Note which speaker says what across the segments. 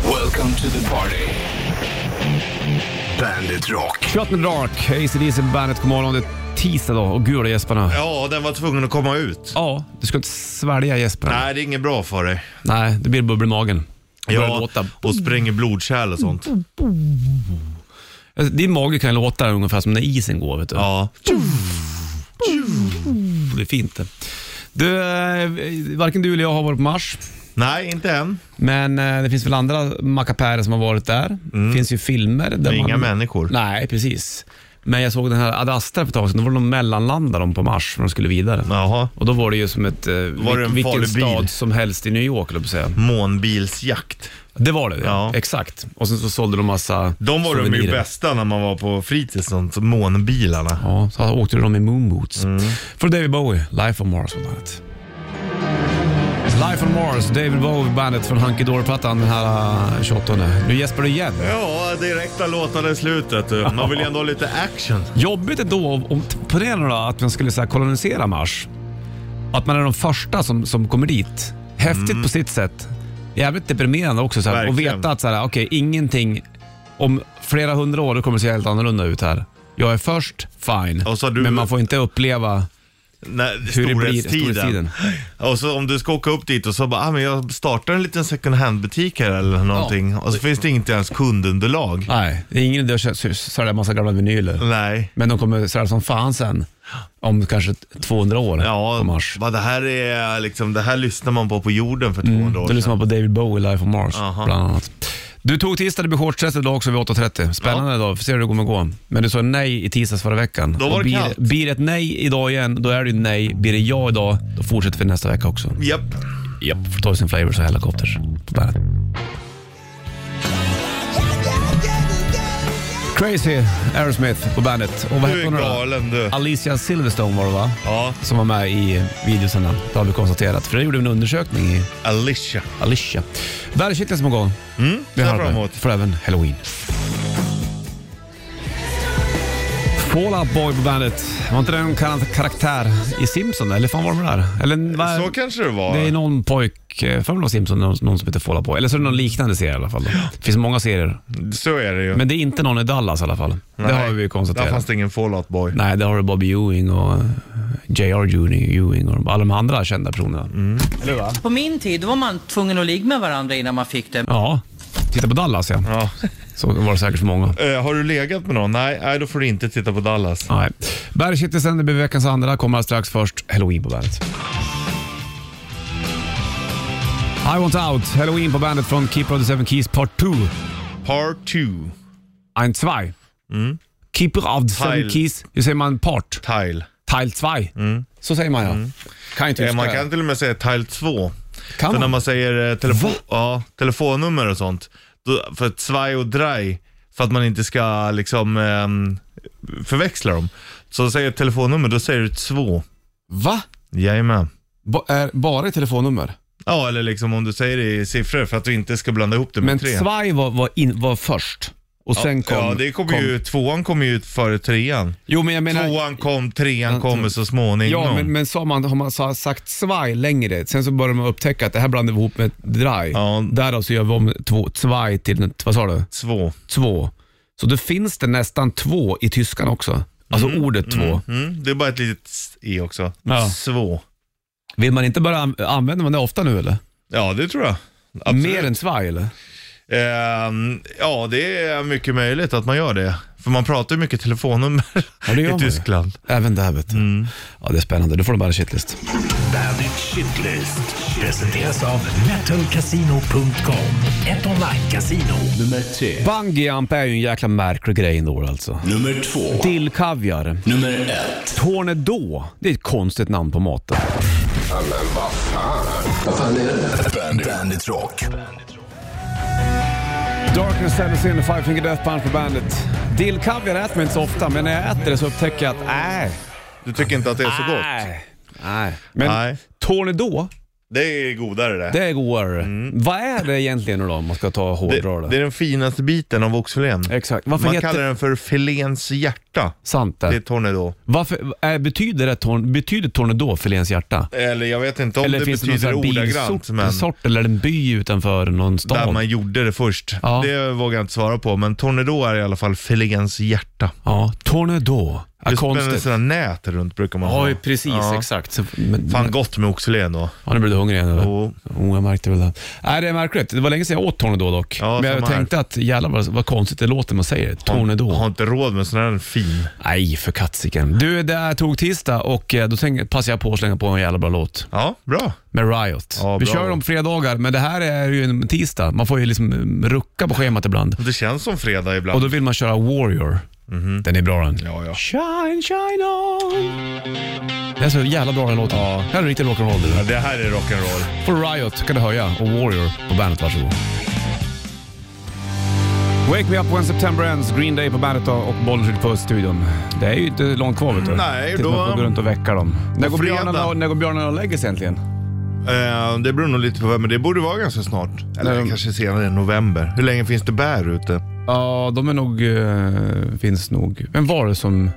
Speaker 1: Welcome to the party. Bandit Rock.
Speaker 2: Shot in the Dark, ACDC Bandet, god morgon. Det är tisdag då och gula gäsparna. Ja.
Speaker 3: Ja, den var tvungen att komma ut.
Speaker 2: du ska inte svälja gäsparna. Nej.
Speaker 3: Nej, det är inget bra för dig.
Speaker 2: det blir bubbel i magen. Det börjar
Speaker 3: Ja,
Speaker 2: låta.
Speaker 3: och spränger blodkärl och sånt.
Speaker 2: Alltså, Din mage kan ju låta ungefär som när isen går. Vet du.
Speaker 3: Ja.
Speaker 2: Det är fint det. Du, eh, varken du eller jag har varit på Mars.
Speaker 3: Nej, inte än.
Speaker 2: Men eh, det finns väl andra mackapärer som har varit där. Det finns ju filmer. Där
Speaker 3: Men
Speaker 2: man...
Speaker 3: Mm. inga människor.
Speaker 2: Nej, precis. Men jag såg den här Ad Astra för ett tag sedan. Då var det någon mellanlandade de på Mars när de skulle vidare.
Speaker 3: Jaha.
Speaker 2: Och då var det ju som ett, eh, vil-
Speaker 3: det en
Speaker 2: vilken
Speaker 3: farlig bil?
Speaker 2: stad som helst i New York, höll jag på att säga.
Speaker 3: Månbilsjakt.
Speaker 2: Det var det, ja.
Speaker 3: Ja.
Speaker 2: exakt. Och sen så sålde de massa
Speaker 3: De var de ju
Speaker 2: souvenirer.
Speaker 3: bästa när man var på fritids, sånt. Månbilarna.
Speaker 2: Ja, så åkte de i moonboots.
Speaker 3: Mm.
Speaker 2: För David Bowie, Life on Mars bland annat. Life on Mars, David Bowie, bandet från Hunky Dory-plattan den här eh, 28. Nu gäspar du igen.
Speaker 3: Ja, direkta låtarna i slutet. du. Man vill ju ändå ha lite action.
Speaker 2: Jobbigt ändå, om- om, ponera nu då att man skulle så här, kolonisera Mars. Att man är de första som, som kommer dit. Häftigt på sitt sätt. Jävligt deprimerande också. Så här, och
Speaker 3: Mm. Verkligen.
Speaker 2: veta att så här, okej, ingenting, om flera hundra år då kommer det se helt annorlunda ut här. Jag är först, fine.
Speaker 3: Och så har du-
Speaker 2: Men man får inte uppleva
Speaker 3: Nej,
Speaker 2: hur det blir.
Speaker 3: storhetstiden. Och så om du ska åka upp dit och så bara, ah, men jag startar en liten second hand-butik här eller någonting. Och så finns det inte ens kundunderlag.
Speaker 2: Nej, det är ingen idé att kö- sö- sälja massa gamla vinyler.
Speaker 3: Nej.
Speaker 2: Men de kommer sälja som fan sen. Om kanske 200 år på
Speaker 3: Ja,
Speaker 2: Mars.
Speaker 3: vad det här är liksom, det här lyssnar man på på jorden för 200 år
Speaker 2: Då
Speaker 3: sedan.
Speaker 2: lyssnar man på David Bowie live on Mars
Speaker 3: Aha.
Speaker 2: bland annat. Du tog tisdag, det blir shortstresset idag också vid 8.30. Spännande idag, får se hur det kommer gå. Men du sa nej i tisdags förra veckan.
Speaker 3: Då var
Speaker 2: Och
Speaker 3: det
Speaker 2: blir,
Speaker 3: kallt.
Speaker 2: blir det ett nej idag igen, då är det ju nej. Blir det ja idag, då fortsätter vi nästa vecka också.
Speaker 3: Japp.
Speaker 2: Japp, för Toys and Flavors och Helicopters på bandet. Crazy Aerosmith på bandet. Och vad
Speaker 3: Du
Speaker 2: hette
Speaker 3: är
Speaker 2: hon nu då?
Speaker 3: galen du.
Speaker 2: Alicia Silverstone var det va?
Speaker 3: Ja,
Speaker 2: Som var med i videosarna. Det har vi konstaterat. För det gjorde vi en undersökning i
Speaker 3: Alicia.
Speaker 2: Alicia. Världskittet som gång.
Speaker 3: Mm,
Speaker 2: Det
Speaker 3: ser
Speaker 2: har
Speaker 3: jag fram
Speaker 2: det.
Speaker 3: emot.
Speaker 2: För även halloween. Fall Out Boy på bandet. Var inte det en kar- karaktär i Simpson? Eller fan var de där? Eller, vad-
Speaker 3: Så kanske det var.
Speaker 2: det är någon pojk, eh, för mig någon Simpson, någon, någon som heter Fall Out Boy. Eller så är det någon liknande serie i alla fall. Det finns många serier.
Speaker 3: Så är det ju.
Speaker 2: Men det är inte någon i Dallas i alla fall.
Speaker 3: Nej,
Speaker 2: det har vi ju
Speaker 3: Där
Speaker 2: konstaterat.
Speaker 3: fanns det ingen Fallout Boy.
Speaker 2: Nej, där har du Bobby Ewing och eh, J.R. Ewing- Ewing och alla de andra kända personerna.
Speaker 3: Mm.
Speaker 4: På min tid då var man tvungen att ligga med varandra innan man fick det.
Speaker 2: Ja, titta på Dallas ja.
Speaker 3: Ja.
Speaker 2: Så var det säkert för många.
Speaker 3: Eh, har du legat med någon? Nej, nej, då får du inte titta på Dallas.
Speaker 2: Nej. Bergkittisen, det blir veckans andra, kommer alldeles strax först. Halloween på bandet. I want out, Halloween på bandet från Keeper of the Seven Keys Part 2.
Speaker 3: Part 2.
Speaker 2: Ein 2. Keeper of the Seven
Speaker 3: Mm. Teil.
Speaker 2: Keys, hur säger man part?
Speaker 3: Tile.
Speaker 2: Teil 2. Så säger man ja. Kan inte
Speaker 3: Eh,
Speaker 2: tyska
Speaker 3: man
Speaker 2: det.
Speaker 3: kan till och med säga Tile 2.
Speaker 2: Kan
Speaker 3: För
Speaker 2: man?
Speaker 3: när man säger eh, telefo
Speaker 2: Ah, Va?
Speaker 3: ja, telefonnummer och sånt. Då, för att zwei och drei, för att man inte ska liksom ehm, förväxla dem. Så säger jag telefonnummer, då säger du två.
Speaker 2: Va?
Speaker 3: Jajamän.
Speaker 2: Ba- är bara i telefonnummer?
Speaker 3: Ja, eller liksom om du säger det i siffror för att du inte ska blanda ihop det med
Speaker 2: Men
Speaker 3: tre.
Speaker 2: Zwei var, var, in, var först. Och sen kom...
Speaker 3: ja, det kom, ju, tvåan kom ju ut före trean.
Speaker 2: Jo, men jag menar...
Speaker 3: Tvåan kom, trean kommer så småningom.
Speaker 2: Ja, men, men sa man, har man sa, sagt svaj längre, sen så börjar man upptäcka att det här blandar vi ihop med dry.
Speaker 3: Ja.
Speaker 2: Därav så gör vi om två, svaj till, vad sa du?
Speaker 3: Två.
Speaker 2: Två. Så då finns det nästan två i tyskan också. Alltså ordet två.
Speaker 3: Mm, det är bara ett litet s- i också.
Speaker 2: Ja.
Speaker 3: Svå.
Speaker 2: Vill man inte börja an- använda man det ofta nu eller?
Speaker 3: Ja, det tror jag. Absolut.
Speaker 2: Mer än svaj eller?
Speaker 3: Ehm, ja, det är mycket möjligt att man gör det. För man pratar ju mycket telefonnummer
Speaker 2: Ja, det gör
Speaker 3: i
Speaker 2: man ju.
Speaker 3: Tyskland. Mm.
Speaker 2: Även där vet du. Ja, det är spännande. Då får de bara en shitlist.
Speaker 1: Bandit Shitlist. Presenteras av metalcasino.com. Ett online-casino. Nummer tre.
Speaker 2: Bungyjump är ju en jäkla märklig grej ändå alltså.
Speaker 1: Nummer två.
Speaker 2: Dillkaviar.
Speaker 1: Nummer ett.
Speaker 2: Tornedå. Det är ett konstigt namn på maten.
Speaker 1: Bandit, Bandit Rock.
Speaker 2: Darkness Seven Sin, Five Finger Death Punch på bandet. Dillkaviar äter man inte så ofta, men när jag äter det så upptäcker jag att äh, nej,
Speaker 3: Du tycker inte att det är så gott?
Speaker 2: nej, nej. Men
Speaker 3: Nej.
Speaker 2: Tornedå,
Speaker 3: Det är godare det.
Speaker 2: Det är godare. Vad är det egentligen nu då, om man ska ta och hårdra det?
Speaker 3: Mm. det är den finaste biten av oxfilén.
Speaker 2: Exakt. Varför
Speaker 3: Man
Speaker 2: heter
Speaker 3: kallar den för filéns hjärta.
Speaker 2: Sant
Speaker 3: Det är
Speaker 2: det.
Speaker 3: tornedå.
Speaker 2: Varför, är, betyder, det torn, betyder Tornedå filéns hjärta?
Speaker 3: Eller jag vet inte om
Speaker 2: Eller
Speaker 3: det
Speaker 2: finns det någon sån
Speaker 3: betyder
Speaker 2: här
Speaker 3: ordagrant, men
Speaker 2: bilsort sort, eller en by utanför någon
Speaker 3: där
Speaker 2: stad?
Speaker 3: man gjorde det först.
Speaker 2: Ja.
Speaker 3: Det vågar jag inte svara på, men tornedå är i alla fall filéns hjärta.
Speaker 2: Ja, Tornedå. Ja,
Speaker 3: Det spänner
Speaker 2: konstigt.
Speaker 3: sådana nät runt brukar man ha.
Speaker 2: Ja, precis. Exakt. Så, men,
Speaker 3: Fan gott med oxfilén då.
Speaker 2: Ja, nu blev du hungrig igen eller?
Speaker 3: Jo.
Speaker 2: Oh, jag märkte väl det. Nej, det är märkligt. Det var länge sedan jag åt Tornedå dock.
Speaker 3: Ja,
Speaker 2: Men jag
Speaker 3: samma här.
Speaker 2: tänkte att jävlar vad, vad konstigt det låter när man säger det. Tornedå.
Speaker 3: Har inte råd med sån här fin.
Speaker 2: Nej, för katsiken. Du, det här tog tisdag och eh, då tänk, passade jag på att slänga på en jävla bra låt
Speaker 3: Ja, bra.
Speaker 2: med Riot.
Speaker 3: Ja,
Speaker 2: Vi
Speaker 3: bra.
Speaker 2: kör om fredagar, men det här är ju en tisdag. Man får ju liksom mm, rucka på schemat ibland.
Speaker 3: Det känns som fredag ibland.
Speaker 2: Och då vill man köra Warrior. Den är bra den.
Speaker 3: Mhm. Ja, ja.
Speaker 2: Shine, shine on. Det är så jävla bra den låten. Ja. Det här är riktig rock'n'roll. det där.
Speaker 3: Ja, Det här är rock'n'roll.
Speaker 2: På Riot kan du höja och Warrior på bandet, varsågod. Wake me up when September ends, Green Day på bandet och Bollnäs på studion. Det är ju inte långt kvar vet du.
Speaker 3: Mm, Nej,
Speaker 2: Tills
Speaker 3: då-
Speaker 2: man får gå runt och väcka dem. När går,
Speaker 3: fredag.
Speaker 2: björnarna, och- när går björnarna och lägger sig egentligen?
Speaker 3: Eh, det beror nog lite på vem, men det borde vara ganska snart. Eller
Speaker 2: Nej, de-
Speaker 3: kanske senare i november. Hur länge finns det bär ute?
Speaker 2: Ja, de är nog... eh, finns nog... Vem var det som...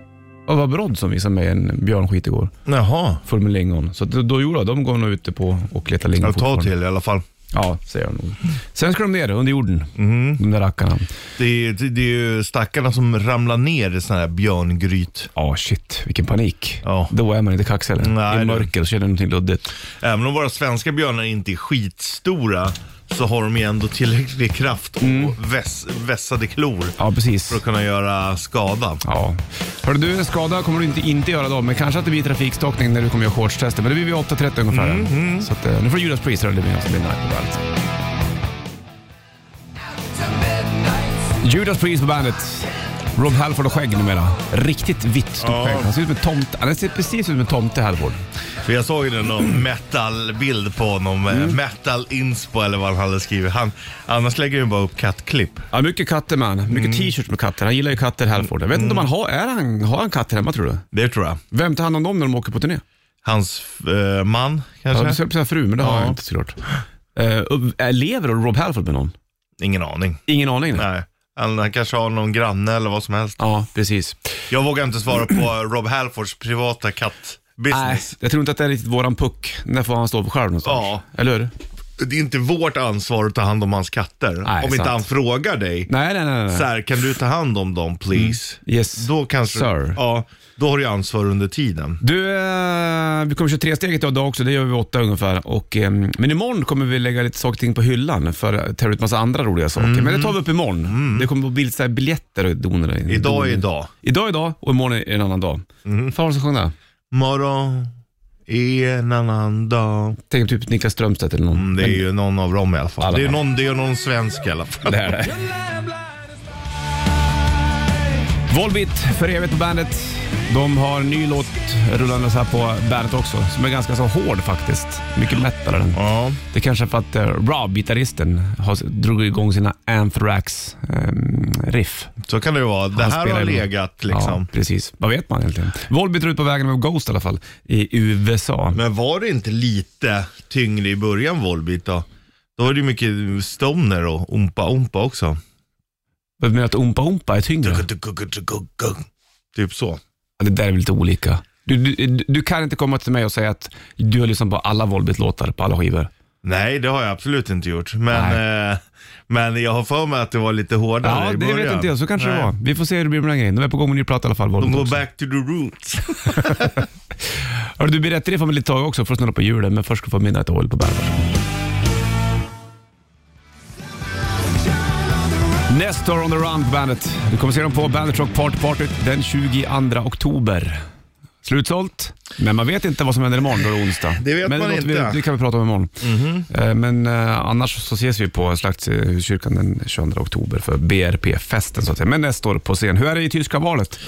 Speaker 2: Det var Brodd som visade mig en björnskit igår.
Speaker 3: Jaha.
Speaker 2: Full med lingon. Så då, då gjorde de går nog ute på och letar lingon
Speaker 3: Jag tar
Speaker 2: fortfarande.
Speaker 3: till i alla fall.
Speaker 2: Ja, säger jag nog. Sen ska de ner under jorden,
Speaker 3: Mm. Mm-hmm.
Speaker 2: de där rackarna.
Speaker 3: Det är, det, det är ju stackarna som ramlar ner i sådana här björngryt.
Speaker 2: Ja, shit vilken panik.
Speaker 3: Ja.
Speaker 2: Då är man inte kaxig heller.
Speaker 3: Nej,
Speaker 2: I
Speaker 3: du.
Speaker 2: mörker så känner man någonting luddigt.
Speaker 3: Även om våra svenska björnar inte är skitstora så har de ju ändå tillräcklig kraft och väss, vässade klor
Speaker 2: Ja, precis.
Speaker 3: för att kunna göra skada.
Speaker 2: Ja. Hörru du, en skada kommer du inte, inte göra då, men kanske att det blir trafikstockning när du kommer göra shortstester. Men det blir vid 8.30 ungefär.
Speaker 3: Mm,
Speaker 2: Så att, eh, nu får Judas Priest höra Living House Midnight på bandet. Judas Priest på bandet. Rob Halford och skägg numera. Riktigt vitt stort
Speaker 3: Ja.
Speaker 2: skägg. Han ser ut som en tomte. Han ser precis ut som en tomte Halford.
Speaker 3: För jag såg ju någon metal-bild på honom, eh, metal-inspo eller vad han hade skrivit. Han, annars lägger han ju bara upp kattklipp.
Speaker 2: Ja, mycket katter man.
Speaker 3: Mm.
Speaker 2: Mycket t-shirts med katter. Han gillar ju katter Halford. Jag vet inte om han har, är han, har han katter hemma tror du?
Speaker 3: Det tror jag.
Speaker 2: Vem tar hand om dem när de åker på turné?
Speaker 3: Hans eh, man
Speaker 2: Ja, du
Speaker 3: kanske?
Speaker 2: skulle säga fru, men det har
Speaker 3: Ja.
Speaker 2: jag inte såklart. Eh, och, eh, lever Rob Halford med någon?
Speaker 3: Ingen aning.
Speaker 2: Ingen aning.
Speaker 3: Nej. Han han kanske har någon granne eller vad som helst.
Speaker 2: Ja, precis.
Speaker 3: Jag vågar inte svara på Rob Halfords privata
Speaker 2: Nej,
Speaker 3: kattbusiness.
Speaker 2: jag tror inte att det är riktigt våran puck. Där får han stå för själv någonstans.
Speaker 3: Ja.
Speaker 2: Eller hur?
Speaker 3: Det är inte vårt ansvar att ta hand om hans katter. om
Speaker 2: sant.
Speaker 3: inte han frågar dig.
Speaker 2: Nej, nej, nej. nej.
Speaker 3: Så här, kan du ta hand om dem please?
Speaker 2: Yes.
Speaker 3: Då kanske
Speaker 2: Sir.
Speaker 3: Ja, då har du ansvar under tiden.
Speaker 2: Du, eh, vi kommer köra tresteget idag också. Det gör vi vid åtta ungefär. Och, eh, men imorgon kommer vi lägga lite saker och ting på hyllan för att ta ut massa andra roliga saker.
Speaker 3: Mm.
Speaker 2: Men det tar vi upp imorgon. Det kommer att bli lite så här biljetter och doner.
Speaker 3: Idag är idag.
Speaker 2: Idag är idag och imorgon är en annan dag. Mm. Fan vad som sjöng det?
Speaker 3: Morgon är en annan dag.
Speaker 2: Tänk typ Niklas Strömstedt eller någon.
Speaker 3: Mm, Det är ju någon av dem i alla fall.
Speaker 2: Alla
Speaker 3: det, är
Speaker 2: fall.
Speaker 3: någon, det är någon svensk i alla fall.
Speaker 2: Det är det. Volbit för evigt på bandet. De har en ny låt rullandes här på bandet också, som är ganska så hård faktiskt. Mycket lättare den.
Speaker 3: Ja.
Speaker 2: Det är kanske är för att eh, Rob, gitarristen, har, drog igång sina ehm, Anthrax-riff.
Speaker 3: Så kan det ju vara. Det här har legat liksom.
Speaker 2: Ja, precis. Vad vet man egentligen? Volbit är ut på vägen med Ghost i alla fall, i USA.
Speaker 3: Men var det inte lite tyngre i början Volbeat då? Då var det ju mycket stoner och ompa ompa också.
Speaker 2: Men menar att Oompa Oompa är tyngre?
Speaker 3: Typ så.
Speaker 2: Ja, Det där är väl lite olika. Du, du, du- du kan inte komma till mig och säga att du har lyssnat på alla Volbit-låtar på alla skivor.
Speaker 3: Nej, det har jag absolut inte gjort. Men, eh, men jag har för mig att det var lite hårdare
Speaker 2: Ja,
Speaker 3: i
Speaker 2: det
Speaker 3: början.
Speaker 2: vet inte jag. Så kanske
Speaker 3: Nej.
Speaker 2: det var. Vi får se hur det blir med den grejen. De är på gång med ny platta i alla fall,
Speaker 3: De
Speaker 2: Volbit
Speaker 3: går
Speaker 2: också.
Speaker 3: back to the roots.
Speaker 2: Hörru, du blir rätt i det får man lite tag också för att snurra på hjulen, men först ska du få Midnight Oil på bandet. Nestor on the run på bandet. Du kommer se dem på Bandet Rock Party Party den 22 oktober. Slutsålt, men man vet inte vad som händer imorgon, då är det onsdag.
Speaker 3: Det vet
Speaker 2: men
Speaker 3: man
Speaker 2: låter
Speaker 3: inte. Mhm.
Speaker 2: Vi, det kan vi prata om imorgon. Eh, Men eh, annars så ses vi på Slaktshuskyrkan den 22 oktober för BRP-festen så att säga. Men nästa år på scen. Hur är det i tyska valet?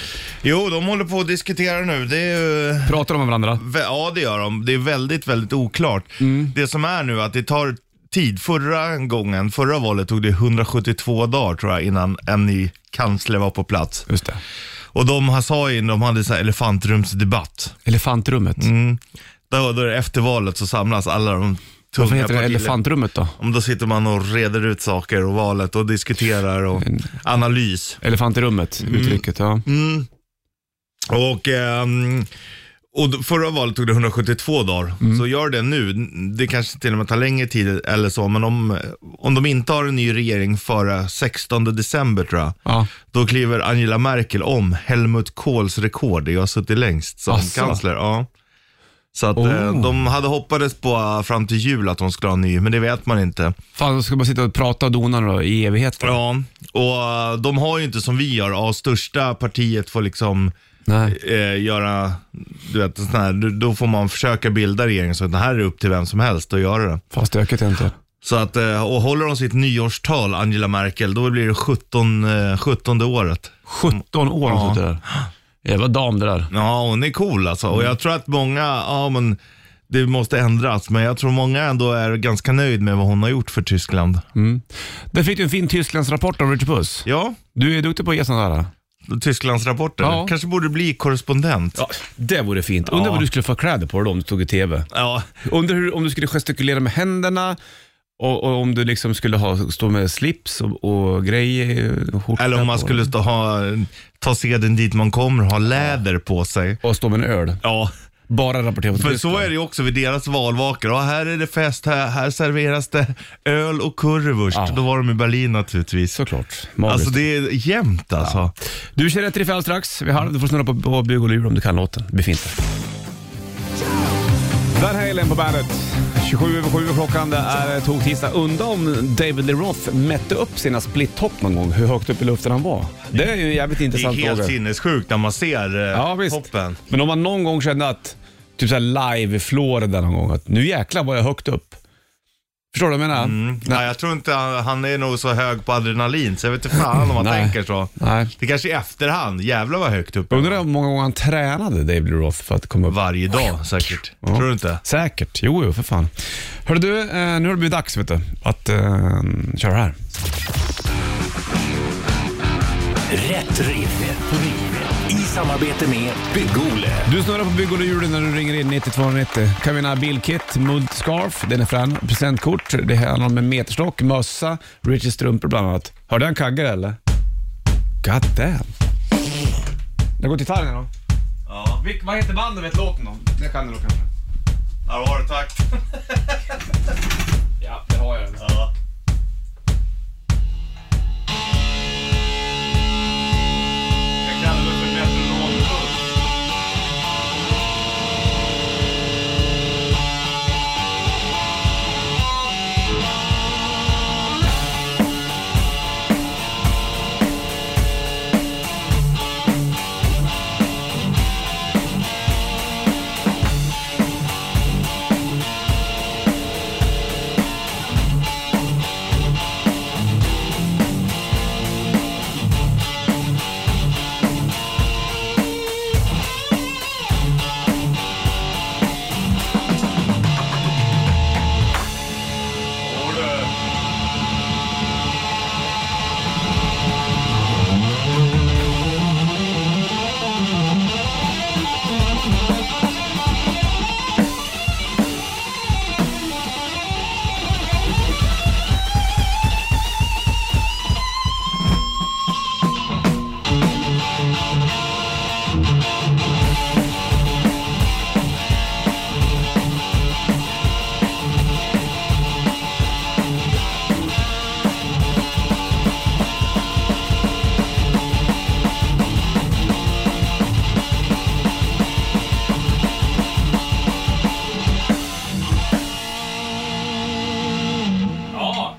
Speaker 3: Jo, de håller på att diskutera nu. Det är ju...
Speaker 2: Pratar de med varandra?
Speaker 3: Vä- Ja, det gör de. Det är väldigt, väldigt oklart.
Speaker 2: Mm.
Speaker 3: Det som är nu är att det tar tid. Förra gången, förra valet tog det 172 dagar tror jag innan en ny kansler var på plats.
Speaker 2: Just det.
Speaker 3: Och de har- sa in, de hade så här elefantrumsdebatt.
Speaker 2: Elefantrummet.
Speaker 3: Då, då är det efter valet så samlas alla de tunga
Speaker 2: Varför heter det
Speaker 3: partiledare.
Speaker 2: elefantrummet då?
Speaker 3: Om då sitter man och reder ut saker och valet och diskuterar och
Speaker 2: Mm.
Speaker 3: analys.
Speaker 2: Elefantrummet, uttrycket. Ja.
Speaker 3: Och, ehm, och då- förra valet tog det 172 dagar,
Speaker 2: Mm.
Speaker 3: så gör det nu. Det kanske till och med tar längre tid eller så, men om, om de inte har en ny regering före 16 december tror jag,
Speaker 2: Ja.
Speaker 3: då kliver Angela Merkel om Helmut Kohls rekord i att ha suttit längst som
Speaker 2: Asså.
Speaker 3: kansler. Ja. Så att eh,
Speaker 2: Oh.
Speaker 3: de hade hoppades på eh, fram till jul att de skulle ha en ny, men det vet man inte.
Speaker 2: Fan, då ska man sitta och prata och dona då, i evighet.
Speaker 3: Ja, och eh, de har ju inte som vi gör, ja, största partiet får liksom
Speaker 2: Nej.
Speaker 3: eh, göra, du vet, sån här, då- då får man försöka bilda regeringen så att det här är upp till vem som helst att göra det.
Speaker 2: Fan, stökigt inte.
Speaker 3: Så att, eh, och håller de sitt nyårstal, Angela Merkel, då blir det 17, eh, 17 året.
Speaker 2: 17 år har hon suttit där. Jävla dam det där.
Speaker 3: Ja, hon är cool alltså. Och jag tror att många, ja men det måste ändras, men jag tror många ändå är ganska nöjd med vad hon har gjort för Tyskland.
Speaker 2: Mm. Där fick du en fin Tysklandsrapport av Richard Puss.
Speaker 3: Ja,
Speaker 2: Du är duktig på att ge sådana där.
Speaker 3: Tysklands rapporter.
Speaker 2: Ja.
Speaker 3: Kanske borde bli korrespondent.
Speaker 2: Ja, det vore fint. Undrar
Speaker 3: Ja.
Speaker 2: vad du skulle få kläder på dig då om du tog i TV.
Speaker 3: Ja,
Speaker 2: Undrar hur, om du skulle gestikulera med händerna och, och om du liksom skulle ha, stå med slips och, och grejer. och skjorta
Speaker 3: eller om man
Speaker 2: på.
Speaker 3: skulle stå, ha, ta seden dit man kommer och ha läder på sig.
Speaker 2: Och stå med en öl.
Speaker 3: Ja,
Speaker 2: Bara rapportera på
Speaker 3: för
Speaker 2: Tyskland.
Speaker 3: så är det ju också vid deras valvakor. Ja, här är det fest, här, här serveras det öl och currywurst.
Speaker 2: Ja.
Speaker 3: Då var de i Berlin naturligtvis.
Speaker 2: Såklart. Magiskt.
Speaker 3: Alltså det är jämnt alltså.
Speaker 2: Du kör rätt i fall strax. Vi har, du får snurra på, på bug och lur om du kan låten. Befint. Van Halen på bandet. 27 över 7 är klockan. Det är tog-tisdag. Undra om David Lee Roth mätte upp sina split-topp någon gång, hur högt upp i luften han var. Det är ju en jävligt
Speaker 3: Det är
Speaker 2: intressant
Speaker 3: helt
Speaker 2: fråga.
Speaker 3: sinnessjukt när man ser eh,
Speaker 2: Ja, visst.
Speaker 3: toppen.
Speaker 2: Men om man någon gång kände att, typ såhär live i Florida någon gång, att nu jäklar var jag högt upp. Förstår du vad jag menar?
Speaker 3: Nej, jag tror inte han, han är nog så hög på adrenalin, så jag vet inte fan om han
Speaker 2: Nej.
Speaker 3: tänker så.
Speaker 2: Nej.
Speaker 3: Det kanske är i efterhand. Jävlar vad högt upp.
Speaker 2: Undrar hur många gånger han tränade David Lee Roth för att komma upp.
Speaker 3: Varje dag säkert. Tror du inte?
Speaker 2: Säkert. Jo, jo, för fan. Hörru du, eh, nu har det blivit dags vet du, att eh, köra här.
Speaker 1: Rätt riff. Rätt riff. I samarbete med Bygg-Ole.
Speaker 2: Du snurrar på bygg och hjulen när du ringer in 9290. Kan vinna bilkit, multscarf, den är fram, presentkort, det handlar om en meterstock, mössa, Richies strumpor bland annat. Hörde han kaggar eller? God damn. Jag går till gitarren då.
Speaker 3: Ja,
Speaker 2: Vilk, vad heter bandet vet låten då? Det kan du nog kanske.
Speaker 3: där var det. Tack.
Speaker 2: Ja, det har jag.
Speaker 3: Ja. Jag kallar det för metronompuls.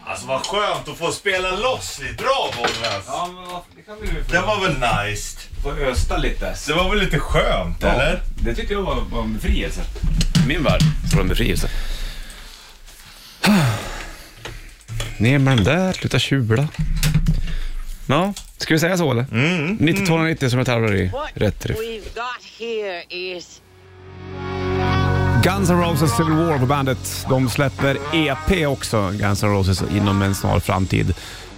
Speaker 3: Alltså vad skönt att få spela loss lite. Bra Bollnäs.
Speaker 2: Ja, men vad- det kan vi ju
Speaker 3: Det
Speaker 2: få-
Speaker 3: var väl nice.
Speaker 2: få östa lite.
Speaker 3: Det var väl lite skönt eller?
Speaker 2: Det tyckte jag var, var en befrielse. I min värld var det en befrielse. Ner med den där, sluta tjula. Ja, ska vi säga så eller? Mm. 9290 som jag tävlar i. Rätt riff.
Speaker 5: we've got here is
Speaker 2: Guns N' Roses Civil E War på bandet. De släpper EP också, Guns N' Roses, inom en snar framtid.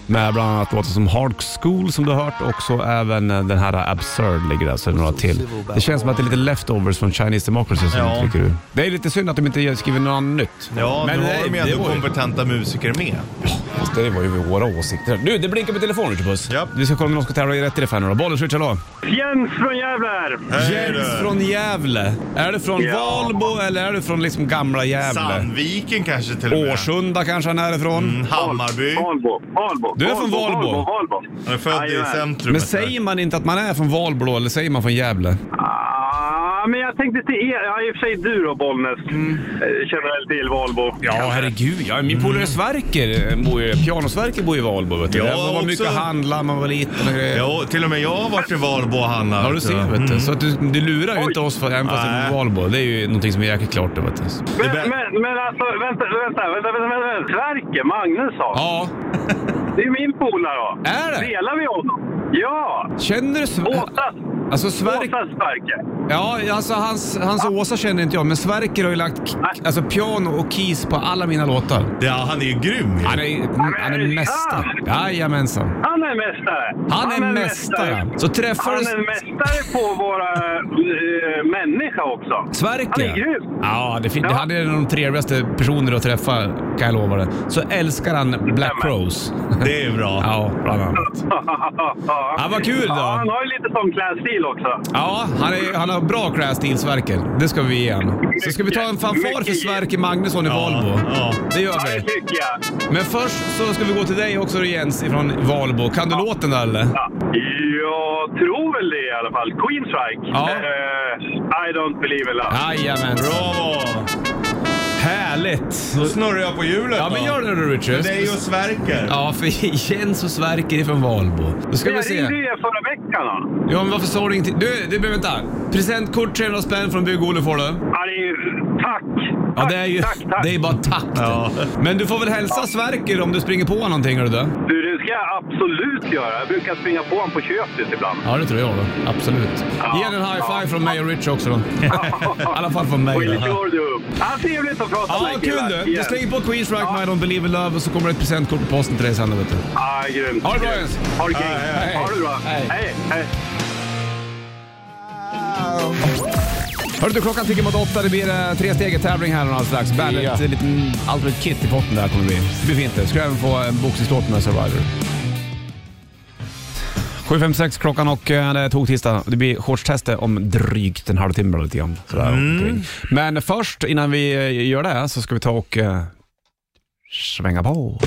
Speaker 2: Med bland annat låtar som Hard School som du har hört och så även eh, den här Absurd ligger där, så är det alltså några till. Det känns som att det är lite leftovers från Chinese Democracy som
Speaker 3: Ja.
Speaker 2: trycker ur. Det är lite synd att de inte skriver något nytt.
Speaker 3: Ja,
Speaker 2: Men
Speaker 3: nu
Speaker 2: det-
Speaker 3: har de ju
Speaker 2: det
Speaker 3: ändå
Speaker 2: var ju-
Speaker 3: kompetenta musiker med.
Speaker 2: Fast det var ju våra åsikter. Du, det blinkar på telefonen Richard Puss.
Speaker 3: Ja.
Speaker 2: Vi ska kolla om någon ska tävla i rätt i det här nu då. Bollenswitch, hallå?
Speaker 6: Jens från Gävle här.
Speaker 2: Jens från Gävle. Är du från
Speaker 6: Ja.
Speaker 2: Valbo eller är du från liksom gamla Gävle?
Speaker 3: Sandviken kanske till och med.
Speaker 2: Årsunda kanske han är ifrån.
Speaker 3: Hammarby.
Speaker 6: Valbo. Valbo.
Speaker 2: Du är från Valbo.
Speaker 6: Valbo. Valbo.
Speaker 3: Han är född i
Speaker 6: Jajamän.
Speaker 3: centrum.
Speaker 2: Men säger man inte att man är från Valbo då, eller säger man från Gävle?
Speaker 6: Ah, men jag tänkte till er. Ja, i och för sig du då, Bollnäs.
Speaker 2: Mm.
Speaker 6: Eh, Känner väl till Valbo.
Speaker 2: Ja, herregud. Ja, min polare Sverker, eh, bor ju, pianosverker bor ju i Valbo. Vet du.
Speaker 3: Ja,
Speaker 2: Där var man mycket och
Speaker 3: också.
Speaker 2: handla, man var liten och grejer.
Speaker 3: Ja, till och med jag har varit i Valbo och handlat.
Speaker 2: Ja, du ser. Vet du. Så att du, du lurar ju inte oss för, även fast det är
Speaker 3: Nej.
Speaker 2: från Valbo. Det är ju någonting som är jäkligt klart. Vet du.
Speaker 6: Men,
Speaker 3: Det är bä-
Speaker 6: men, men alltså, vänta, vänta, vänta, vänta, vänta, vänta. Sverker Magnusson.
Speaker 2: Ja,
Speaker 6: Det är ju min polare.
Speaker 2: Är det?
Speaker 6: Delar vi honom? Ja!
Speaker 2: känner du Sverker?
Speaker 6: Åsa,
Speaker 2: Alltså Sverker...
Speaker 6: Åsa Sverker.
Speaker 2: Ja, alltså hans, hans Åsa känner inte jag, men Sverker har ju lagt k- alltså, piano och keys på alla mina låtar.
Speaker 3: Ja, han är ju grym ju.
Speaker 2: Han är, han är mästare. Jajamensan.
Speaker 6: Han är mästare.
Speaker 2: Han är mästare. Så
Speaker 6: Han
Speaker 2: träffades...
Speaker 6: är mästare på våra eh, människa också.
Speaker 2: Sverker?
Speaker 6: Han är grym.
Speaker 2: Ja, det är fint.
Speaker 6: Ja.
Speaker 2: Han är en av de trevligaste personer att träffa, kan jag lova dig. Så älskar han Black
Speaker 6: Stämmer.
Speaker 2: Rose.
Speaker 3: Det är bra.
Speaker 2: Ja, bland annat.
Speaker 6: ja,
Speaker 2: vad kul då.
Speaker 6: Ja, han har ju lite sån klädstil också.
Speaker 2: Ja, han, är, han har bra crash Sverker. Det ska vi ge han. Så ska vi ta en fanfar för
Speaker 6: Mycket.
Speaker 2: Sverker Magnusson i
Speaker 3: Ja,
Speaker 2: Valbo?
Speaker 3: ja.
Speaker 2: Det gör
Speaker 6: Ja, det
Speaker 2: vi.
Speaker 6: tycker jag.
Speaker 2: Men först så ska vi gå till dig också Jens ifrån Valbo. Kan du låten där eller?
Speaker 6: Ja, jag tror väl det i alla fall. Queen Strike.
Speaker 2: Ja.
Speaker 6: Eh, I don't believe in love.
Speaker 2: Jajamän.
Speaker 3: Bravo!
Speaker 2: Härligt.
Speaker 3: Då snurrar jag på hjulet
Speaker 2: Ja men gör det du Richard.
Speaker 3: Det är ju Sverker.
Speaker 2: Ja, för Jens och Sverker ifrån Valbo. Då ska vi
Speaker 6: jag
Speaker 2: se.
Speaker 6: ringde ju er förra veckan. Då.
Speaker 2: Ja, men varför sa du ingenting? Du, du behöver vänta. Presentkort 300 spänn från Bygg-Olle får du.
Speaker 6: Ja, det är ju, tack!
Speaker 2: Ja,
Speaker 6: tack,
Speaker 2: det är ju
Speaker 6: tack, tack.
Speaker 2: Det är bara tack det.
Speaker 3: Ja.
Speaker 2: Men du får väl hälsa Sverker om du springer på någonting, hör du det?
Speaker 6: Du, det ska jag absolut göra. Jag brukar springa på honom på köpet ibland.
Speaker 2: Ja, det tror jag då. Absolut.
Speaker 6: Ja.
Speaker 2: Ge den en high five från mig och Rich också då. I alla fall från mig.
Speaker 6: Och
Speaker 2: då.
Speaker 6: lite hör du upp. Ja, trevligt att prata
Speaker 2: Ja,
Speaker 6: med
Speaker 2: kul
Speaker 6: killar
Speaker 2: du.
Speaker 6: igen.
Speaker 2: Jag slänger på Queens Rock My I Don't Believe in Love och så kommer det ett presentkort på posten till dig sen. då, Vet du.
Speaker 6: Ja, grymt.
Speaker 2: Ha det bra,
Speaker 6: grymt.
Speaker 2: Jens.
Speaker 6: Ha det
Speaker 3: Ja,
Speaker 6: grymt.
Speaker 3: hej,
Speaker 2: hej.
Speaker 6: Ha det bra.
Speaker 2: Hej.
Speaker 6: Hej, hej.
Speaker 2: Hörru du, klockan tickar mot åtta. Det blir eh, tre steget tävling här alldeles strax. Bandet,
Speaker 1: Ja.
Speaker 2: ja. liten Ultimate Kit i potten där kommer det bli. Det blir fint det. Ska du även få en boxningslåt med Survivor. 7.56 klockan och eh, det är tog tisdag. Det blir shortstestet om drygt en halvtimme eller lite grann. Sådär omkring. Men först, innan vi eh, gör det, så ska vi ta och eh, svänga på.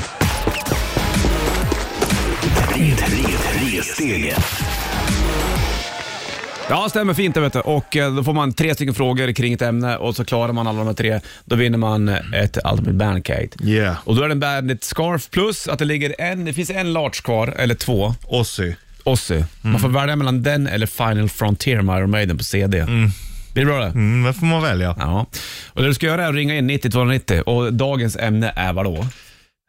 Speaker 1: Tre, tre, tre steget.
Speaker 2: Ja, stämmer fint det vet du. Och eh, då får man tre stycken frågor kring ett ämne och så klarar man alla de här tre, då vinner man ett Ultimate Bandcake.
Speaker 3: Yeah.
Speaker 2: Och då är det en Bandit Scarf plus att det ligger en, det finns en large kvar, eller två,
Speaker 3: Ozzy.
Speaker 2: Ozzy. Man
Speaker 3: Mm.
Speaker 2: får välja mellan den eller Final Frontier med Iron Maiden på CD. Blir det bra det?
Speaker 3: Mm, vad får man välja?
Speaker 2: Ja. Och det du ska göra är att ringa in 90 290 och dagens ämne är vad då?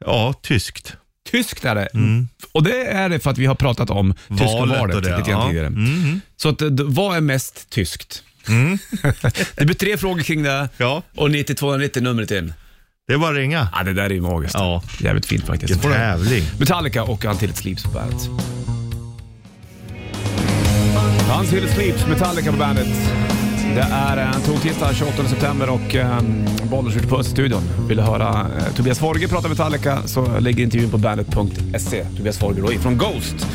Speaker 3: Ja, tyskt.
Speaker 2: Tyskt är det. Och det är det för att vi har pratat om tyska
Speaker 3: Mm. Valet och
Speaker 2: valet
Speaker 3: det,
Speaker 2: lite grann
Speaker 3: ja. Mm.
Speaker 2: tidigare. Så att, eh, d- vad är mest tyskt? det blir tre frågor kring det
Speaker 3: Ja.
Speaker 2: och 90 290 numret in.
Speaker 3: Det är bara att ringa.
Speaker 2: Ja, det där är ju magiskt.
Speaker 3: Ja.
Speaker 2: Jävligt fint faktiskt.
Speaker 3: Vilken tävling.
Speaker 2: Metallica och Until It Sleeps på bandet. Until It Sleeps, Metallica på bandet. Det är eh, en toktisdag 28 september och um, Bollnäs ute på Öststudion. Vill du höra eh, Tobias Forge prata Metallica så ligger intervjun på bandet.se. Tobias Forge då ifrån Ghost.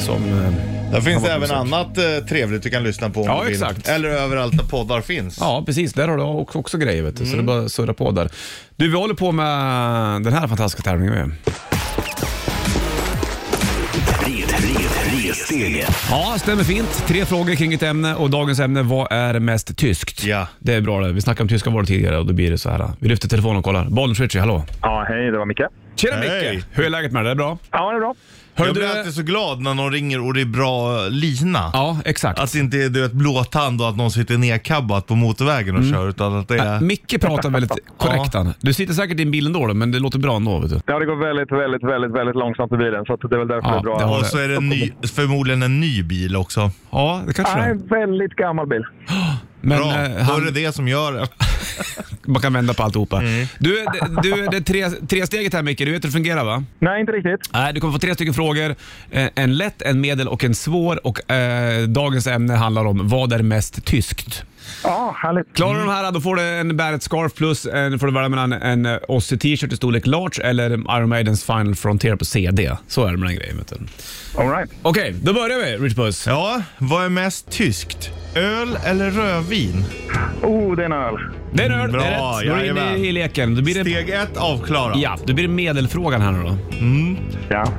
Speaker 2: Som, eh,
Speaker 3: Där
Speaker 2: kan vara
Speaker 3: finns det
Speaker 2: på
Speaker 3: även
Speaker 2: besök.
Speaker 3: annat eh, trevligt du kan lyssna på om
Speaker 2: Ja,
Speaker 3: du vill.
Speaker 2: exakt.
Speaker 3: Eller överallt där poddar finns.
Speaker 2: Ja, precis. Där har du också, också grejer, vet du.
Speaker 3: Mm.
Speaker 2: så det är bara att surra på där. Du, vi håller på med den här fantastiska tävlingen med.
Speaker 1: Tre, tre, tre steget.
Speaker 2: Ja, stämmer fint. Tre frågor kring ett ämne och dagens ämne, vad är mest tyskt?
Speaker 3: Ja.
Speaker 2: Det är bra det. Vi snackade om tyska varor tidigare och då blir det så här. Vi lyfter telefonen och kollar. Bollnäs Ritchie, hallå.
Speaker 7: Ja, hej, det var Micke.
Speaker 2: Tjena
Speaker 3: Hej.
Speaker 2: Micke! Hur är läget med dig? Det är bra?
Speaker 7: Ja, det är bra.
Speaker 2: Hör
Speaker 3: jag
Speaker 2: du...
Speaker 3: blir alltid så glad när någon ringer och det är bra eh, lina.
Speaker 2: Ja, exakt.
Speaker 3: Att det inte är du vet, blåtand och att någon sitter nedkabbad på motorvägen och kör. Utan att det är...
Speaker 2: Äh, Micke pratar väldigt korrekt han. Du sitter säkert i en bil ändå, då, men det låter bra ändå. Vet du.
Speaker 7: Ja, det går väldigt, väldigt, väldigt, väldigt långsamt i bilen, så att det är väl därför
Speaker 2: Ja,
Speaker 7: det är bra.
Speaker 2: det har-
Speaker 3: och så är det en ny, förmodligen en ny bil också.
Speaker 2: Ja, det kanske
Speaker 7: Nej,
Speaker 2: det
Speaker 7: en väldigt gammal bil.
Speaker 2: Men
Speaker 3: Bra,
Speaker 2: eh,
Speaker 3: då är
Speaker 2: han,
Speaker 3: det det som gör det.
Speaker 2: Man kan vända på alltihopa.
Speaker 3: Mm.
Speaker 2: Du, det- du, det är tre, tre steget här Micke, du vet hur det fungerar va?
Speaker 7: Nej, inte riktigt.
Speaker 2: Nej, du kommer få tre stycken frågor. Eh, En lätt, en medel och en svår. Och eh, Dagens ämne handlar om vad är mest tyskt?
Speaker 7: Ja, härligt.
Speaker 2: Klarar du de här då får du en Bäret scarf plus en, får du välja mellan en eh, Ozzy t-shirt i storlek large eller Iron Maidens Final Frontier på CD. Så är det med den grejen. Vet du.
Speaker 7: All right.
Speaker 2: Okej, då börjar vi Rich Puss.
Speaker 3: Ja, vad är mest tyskt? Öl eller rödvin?
Speaker 7: Oh, det är en öl.
Speaker 2: Det är en öl, det
Speaker 3: Bra,
Speaker 2: är rätt. Då är du
Speaker 3: jajamän.
Speaker 2: inne i leken. Då blir det,
Speaker 3: Steg ett avklarat.
Speaker 2: ja, då blir det medelfrågan här nu då.
Speaker 7: Ja.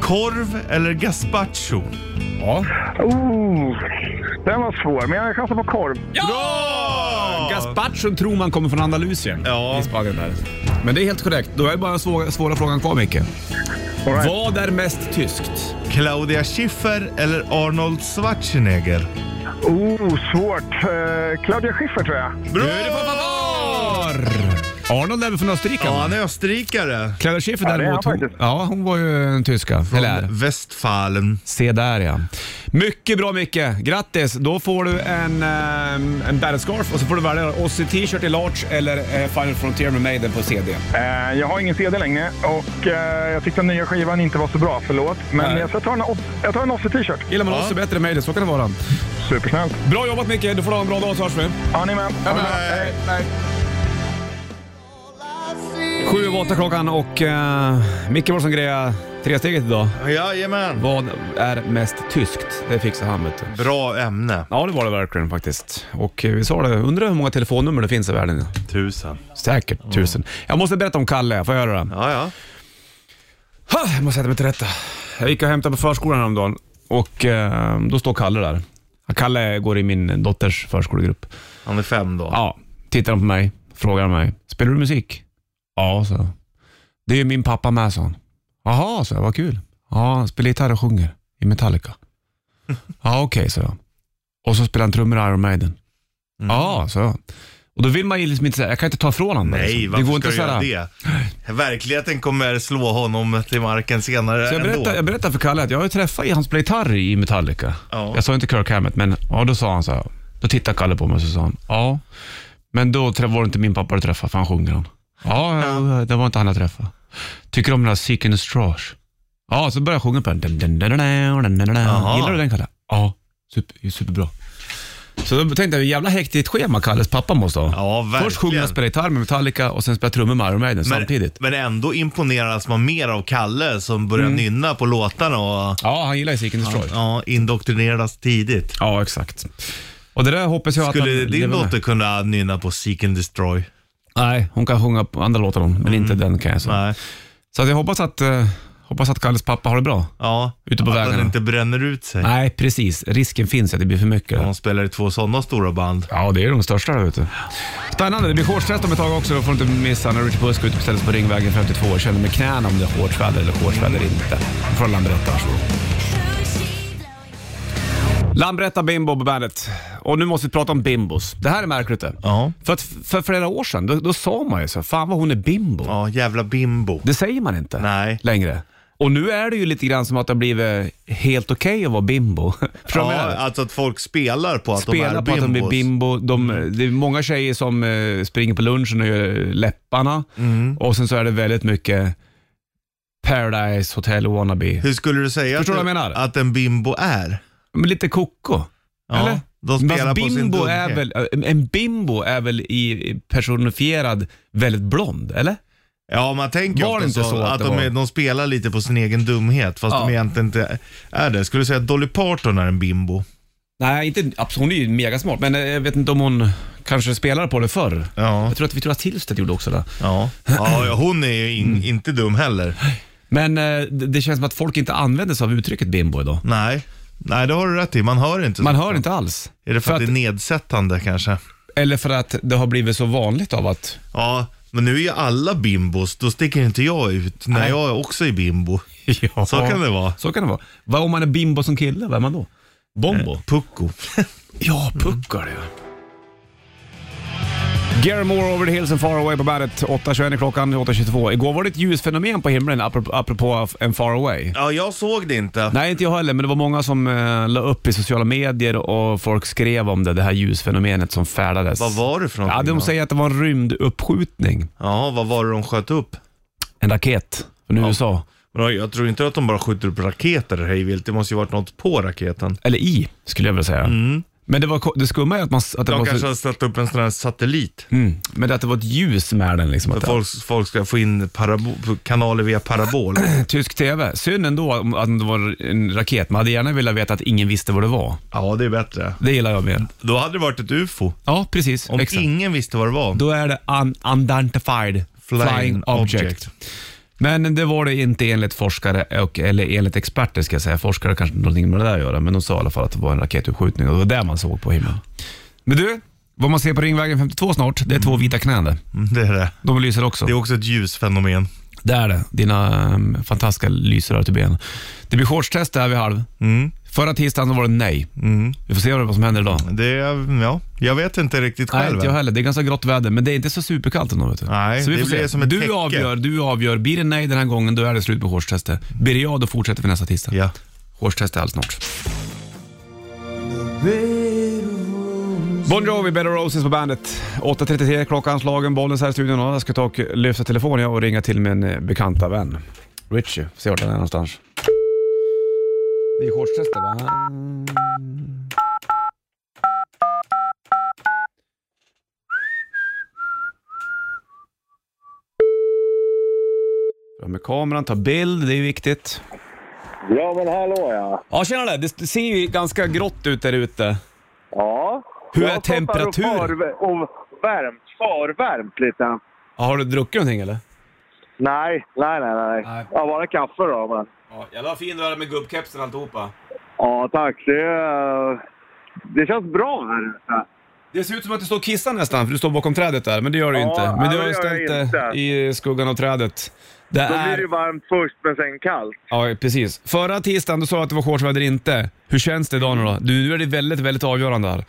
Speaker 3: Korv eller gazpacho?
Speaker 2: Ja.
Speaker 7: Oh, den var svår, men jag chansar på korv.
Speaker 2: Ja! Gazpachon tror man kommer från Andalusien.
Speaker 3: Ja.
Speaker 2: I Spanien där. Men det är helt korrekt. Då är bara den svåra, svåra frågan kvar Micke.
Speaker 7: All right.
Speaker 2: Vad är mest tyskt?
Speaker 3: Claudia Schiffer eller Arnold Schwarzenegger?
Speaker 7: Oh, svårt. Eh, Claudia Schiffer, tror jag.
Speaker 3: Bra!
Speaker 2: Nu är det på favor! Arnold är väl från Österrike?
Speaker 3: Ja,
Speaker 2: va?
Speaker 3: han är österrikare.
Speaker 2: Claudia Schiffer
Speaker 7: Ja, det är
Speaker 2: däremot,
Speaker 7: han
Speaker 2: hon,
Speaker 7: faktiskt.
Speaker 2: ja, hon var ju en tyska. Eller är.
Speaker 3: Västfalen.
Speaker 2: Se där ja. Mycket bra Micke. Grattis! Då får du en, eh, en bärscarf och så får du välja Ozzy t-shirt i large eller eh, Final Frontier med Maiden på CD.
Speaker 7: Eh, jag har ingen CD längre och eh, jag tyckte den nya skivan inte var så bra, förlåt. Men
Speaker 2: Nej.
Speaker 7: jag ska ta en, Oz- jag tar en Ozzy-t-shirt.
Speaker 2: Gillar man
Speaker 3: Ja.
Speaker 2: Ozzy bättre än Maiden, så kan det vara.
Speaker 7: Supersnällt.
Speaker 2: Bra jobbat Micke, du får ha en bra dag så hörs vi.
Speaker 7: Ja, ni är med. Ha det bra.
Speaker 3: Nej.
Speaker 2: Sju och åtta klockan och eh, Micke var som grejade tresteget idag.
Speaker 3: Jajamän.
Speaker 2: Vad är mest tyskt? Det fixar han vet du.
Speaker 3: Bra ämne.
Speaker 2: Ja, det var det verkligen faktiskt. Och eh, vi sa det, undrar hur många telefonnummer det finns i världen?
Speaker 3: Tusen.
Speaker 2: Säkert tusen. Jag måste berätta om Kalle, får jag göra det?
Speaker 3: Ja, ja.
Speaker 2: Ha, jag måste sätta mig till rätta. Jag gick och hämtade på förskolan häromdagen och eh, då står Kalle där. Kalle går i min dotters förskolegrupp.
Speaker 3: Han är fem då.
Speaker 2: Ja, tittar han på mig, frågar mig. Spelar du musik? Ja, så. Det är ju min pappa med, sa han. Jaha, så jag, vad kul. Ja, han spelar gitarr och sjunger i Metallica. Ja, okej, så jag. Och så spelar han trummor i Iron Maiden.
Speaker 3: Mm.
Speaker 2: Ja, så jag. Och då vill man ju liksom inte säga, jag kan inte ta ifrån honom.
Speaker 3: Nej,
Speaker 2: liksom.
Speaker 3: varför ska du
Speaker 2: så
Speaker 3: göra
Speaker 2: här-
Speaker 3: det? Verkligheten kommer slå honom till marken senare
Speaker 2: Så jag,
Speaker 3: Äh, ändå.
Speaker 2: berättade, jag berättade för Kalle att jag har ju träffat han spelar gitarr i Metallica.
Speaker 3: Ja.
Speaker 2: Jag sa inte Kirk Hammett, men ja, då sa han så här. Då tittade Kalle på mig och så sa han, ja, men då trä- var det inte min pappa du träffade, för han sjunger han. Ja, ja, det var inte han jag träffade. Tycker du om den här Seek in a Strash? Ja, så började jag sjunga på den. Dun, dun, dun, dun, dun, dun, dun, dun.
Speaker 3: Jaha.
Speaker 2: Gillar du den Kalle? Ja, super, superbra. Så då tänkte jag, jävla hektiskt schema Kalles pappa måste ha.
Speaker 3: Ja, verkligen.
Speaker 2: Först sjunger och spelar gitarr med Metallica och sen spelar trummor med Iron Maiden
Speaker 3: men,
Speaker 2: samtidigt. Mm.
Speaker 3: Men ändå imponeras man mer av Kalle som börjar nynna på låtarna och
Speaker 2: Ja, han gillar ju Seek in a Strash.
Speaker 3: ja, indoktrineras tidigt.
Speaker 2: Ja, exakt. Och det där hoppas jag att
Speaker 3: Skulle
Speaker 2: han
Speaker 3: din
Speaker 2: lever
Speaker 3: dotter
Speaker 2: Med.
Speaker 3: kunna nynna på Seek and Destroy?
Speaker 2: Nej, hon kan sjunga på andra låtar hon, men inte den kan jag säga.
Speaker 3: Mm. Nej.
Speaker 2: Så att jag hoppas att, eh, hoppas att Kalles pappa har det bra.
Speaker 3: Ja,
Speaker 2: Ute på
Speaker 3: att
Speaker 2: vägarna.
Speaker 3: den inte bränner ut sig.
Speaker 2: Nej, precis. Risken finns att det blir för mycket.
Speaker 3: Hon spelar i två sådana stora band.
Speaker 2: Ja, det är de största där ute. Spännande, det blir shortstest om ett tag också. Då får du inte missa när Richard Puss går ut och beställer sig på Ringvägen 52. Jag känner med knäna om det är hårt väder eller hårt väder inte. Från Lambretta. varsågod. Lambretta Bimbo på bandet. Och nu måste vi prata om bimbos. Det här är märkligt det.
Speaker 3: Ja.
Speaker 2: För, att, för flera år sedan, då, då sa man ju så, fan vad hon är bimbo.
Speaker 3: Ja, jävla bimbo.
Speaker 2: Det säger man inte
Speaker 3: Nej.
Speaker 2: längre. Och nu är det ju lite grann som att det har blivit helt okej att vara bimbo. Förstår du vad
Speaker 3: Ja,
Speaker 2: jag menar?
Speaker 3: alltså att folk spelar på att
Speaker 2: Spela
Speaker 3: de
Speaker 2: på
Speaker 3: är
Speaker 2: att de blir
Speaker 3: bimbos. Mm.
Speaker 2: bimbo. De, Det är många tjejer som eh, springer på lunchen och gör eh, läpparna.
Speaker 3: Mm.
Speaker 2: Och sen så är det väldigt mycket Paradise Hotel wannabe.
Speaker 3: Hur skulle du säga
Speaker 2: Förstår
Speaker 3: att,
Speaker 2: du vad jag menar?
Speaker 3: att en bimbo är?
Speaker 2: Men lite koko.
Speaker 3: Ja,
Speaker 2: Eller?
Speaker 3: de
Speaker 2: Men
Speaker 3: spelar
Speaker 2: alltså,
Speaker 3: på sin
Speaker 2: bimbo
Speaker 3: dunke.
Speaker 2: är väl, En bimbo är väl i personifierad väldigt blond, eller?
Speaker 3: Ja, man tänker ju
Speaker 2: Var
Speaker 3: ofta
Speaker 2: det inte så att
Speaker 3: att,
Speaker 2: det
Speaker 3: de,
Speaker 2: var?
Speaker 3: är, de spelar lite på sin egen dumhet fast
Speaker 2: Ja.
Speaker 3: de egentligen inte är det. Skulle du säga att Dolly Parton är en bimbo?
Speaker 2: Nej, inte, absolut, hon är ju megasmart, men eh, jag vet inte om hon kanske spelade på det förr.
Speaker 3: Ja.
Speaker 2: Jag tror att vi tror att Tillstedt gjorde också det.
Speaker 3: Ja, ja hon är ju
Speaker 2: Mm.
Speaker 3: in, inte dum heller.
Speaker 2: Men eh, det det känns som att folk inte använder sig av uttrycket bimbo idag.
Speaker 3: Nej. Nej, det har du rätt i. Man hör inte. så.
Speaker 2: Man hör inte alls.
Speaker 3: Är det för,
Speaker 2: För
Speaker 3: att,
Speaker 2: att-
Speaker 3: det är nedsättande kanske?
Speaker 2: Eller för att det har blivit så vanligt av att...
Speaker 3: Ja, men nu är ju alla bimbos. Då sticker inte jag ut när
Speaker 2: Nej.
Speaker 3: jag också är bimbo.
Speaker 2: Ja.
Speaker 3: Så kan det vara.
Speaker 2: Så kan det vara. Vad om man är bimbo som kille, vad är man då?
Speaker 3: Eh.
Speaker 2: Bombo?
Speaker 3: Pucko.
Speaker 2: Ja, puckar det. Gary Moore over the hills and far away på bandet. 8.21 är klockan, 8.22. Igår var det ett ljusfenomen på himlen apropå, apropå en far away.
Speaker 3: Ja, jag såg det inte.
Speaker 2: Nej, inte jag heller, men det var många som eh, la upp i sociala medier och folk skrev om det, det här ljusfenomenet som färdades.
Speaker 3: Vad var det för
Speaker 2: Ja,
Speaker 3: någonting
Speaker 2: de
Speaker 3: då?
Speaker 2: säger att det var en rymduppskjutning.
Speaker 3: Ja, vad var det de sköt upp?
Speaker 2: En raket från USA.
Speaker 3: Men Jag tror inte att de bara skjuter upp raketer hej vilt. Det måste ju varit något på raketen.
Speaker 2: Eller i, skulle jag vilja säga. Men det, var, ko- det skumma är att, man, s- att, det var
Speaker 3: De Mm. kanske
Speaker 2: så,
Speaker 3: har satt upp en sån här satellit.
Speaker 2: mm, men att det var ett ljus med den. Liksom,
Speaker 3: För
Speaker 2: att det,
Speaker 3: folk, folk ska få in parabo- kanaler via parabol.
Speaker 2: tysk TV. Synd ändå om- att det var en raket. Man hade gärna velat veta att ingen visste vad det var.
Speaker 3: Ja, det är bättre.
Speaker 2: Det gillar jag mer.
Speaker 3: Då hade det varit ett ufo.
Speaker 2: Ja, precis.
Speaker 3: Om
Speaker 2: Exakt.
Speaker 3: ingen visste vad det var.
Speaker 2: Då är det un unidentified flying,
Speaker 3: Flying
Speaker 2: object.
Speaker 3: object.
Speaker 2: Men det var det inte enligt forskare, och, eller enligt experter ska jag säga. Forskare kanske inte har någonting med det där att göra, men de sa i alla fall att det var en raketuppskjutning och det var där man såg på himlen. Men du, vad man ser på Ringvägen 52 snart, det är två vita knän där.
Speaker 3: Mm, Det är det.
Speaker 2: De lyser också.
Speaker 3: Det är också ett ljusfenomen.
Speaker 2: Det är det. Dina um, fantastiska lyser till ben. Det blir shortstest där vid halv.
Speaker 3: Mm.
Speaker 2: Förra tisdagen så var det nej. Vi får se vad som händer idag.
Speaker 3: Det är, ja, jag vet inte riktigt
Speaker 2: Nej,
Speaker 3: själv.
Speaker 2: inte jag heller. Det är ganska grått väder, men det är inte så superkallt ändå. Vet du.
Speaker 3: Nej,
Speaker 2: så vi
Speaker 3: det
Speaker 2: får se.
Speaker 3: blir som ett
Speaker 2: du
Speaker 3: täcke.
Speaker 2: avgör, du avgör. Blir det nej den här gången, då är det slut på shortstestet. Blir det ja, då fortsätter vi nästa tisdag.
Speaker 3: ja.
Speaker 2: Shortstestet är allt snart. Bon Jovi, Better Roses på bandet. 8.33 klockan slagen, Bollnäs här i studion. Och Jag ska ta och lyfta telefonen jag och ringa till min eh, bekanta vän. Richie, se vart han är någonstans. Det är shortstestet va? Fram med kameran, ta bild, det är viktigt.
Speaker 6: Ja, men hallå ja.
Speaker 2: Ja tjenare, det det ser ju ganska grått ut där ute.
Speaker 6: Ja.
Speaker 2: Hur
Speaker 6: Jag
Speaker 2: är
Speaker 6: har fått
Speaker 2: temperaturen?
Speaker 6: här Och, far, och värmt, farvärmt lite.
Speaker 2: Ja, Har du druckit någonting eller?
Speaker 6: Nej, nej, nej. nej.
Speaker 2: Nej.
Speaker 6: Ja, bara kaffe då. Men.
Speaker 2: Ja, jävla fin du är med gubbkepsen och alltihopa.
Speaker 6: Ja, tack. Det, eh, det känns bra här ute.
Speaker 2: Det ser ut som att du står och kissar nästan, för du står bakom trädet där, men det gör du
Speaker 6: Ja,
Speaker 2: inte. Men
Speaker 6: nej,
Speaker 2: du
Speaker 6: det
Speaker 2: har ju
Speaker 6: gör jag
Speaker 2: ställt dig i skuggan av trädet. Det
Speaker 6: Då blir
Speaker 2: är...
Speaker 6: det ju varmt först, men sen kallt.
Speaker 2: Ja, precis. Förra tisdagen du sa att det var shortsväder inte. Hur känns det idag nu då? Du, nu är det väldigt, väldigt avgörande här.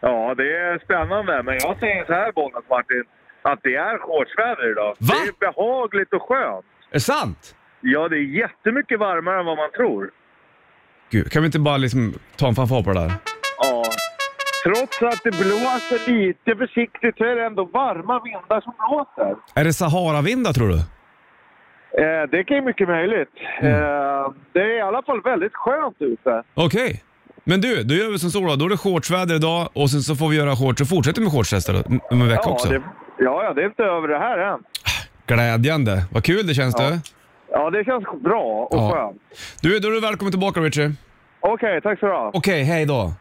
Speaker 6: Ja, det är spännande. Men jag säger så här, Bollnäs Martin, att det är shortsväder idag.
Speaker 2: Va?
Speaker 6: Det är behagligt och skönt.
Speaker 2: Är det sant?
Speaker 6: Ja, det är jättemycket varmare än vad man tror.
Speaker 2: Gud, kan vi inte bara liksom ta en fanfar på det där?
Speaker 6: Ja. Trots att det blåser lite försiktigt så är det ändå varma vindar som blåser.
Speaker 2: Är det Sahara-vindar tror du?
Speaker 6: Eh, det kan ju mycket möjligt.
Speaker 2: Mm.
Speaker 6: Eh, det är i alla fall väldigt skönt ute.
Speaker 2: Okej. Men du, då gör vi som så då. Då är det shortsväder idag och sen så får vi göra shorts och fortsätter med shortstester om en vecka också.
Speaker 6: det, ja, ja, det är inte över det här än.
Speaker 2: Glädjande. Vad kul det känns du.
Speaker 6: Ja, det känns bra och
Speaker 2: Ja.
Speaker 6: skönt.
Speaker 2: Du, då är du välkommen tillbaka Richard.
Speaker 6: Okej, tack så du ha.
Speaker 2: Okej, hej då.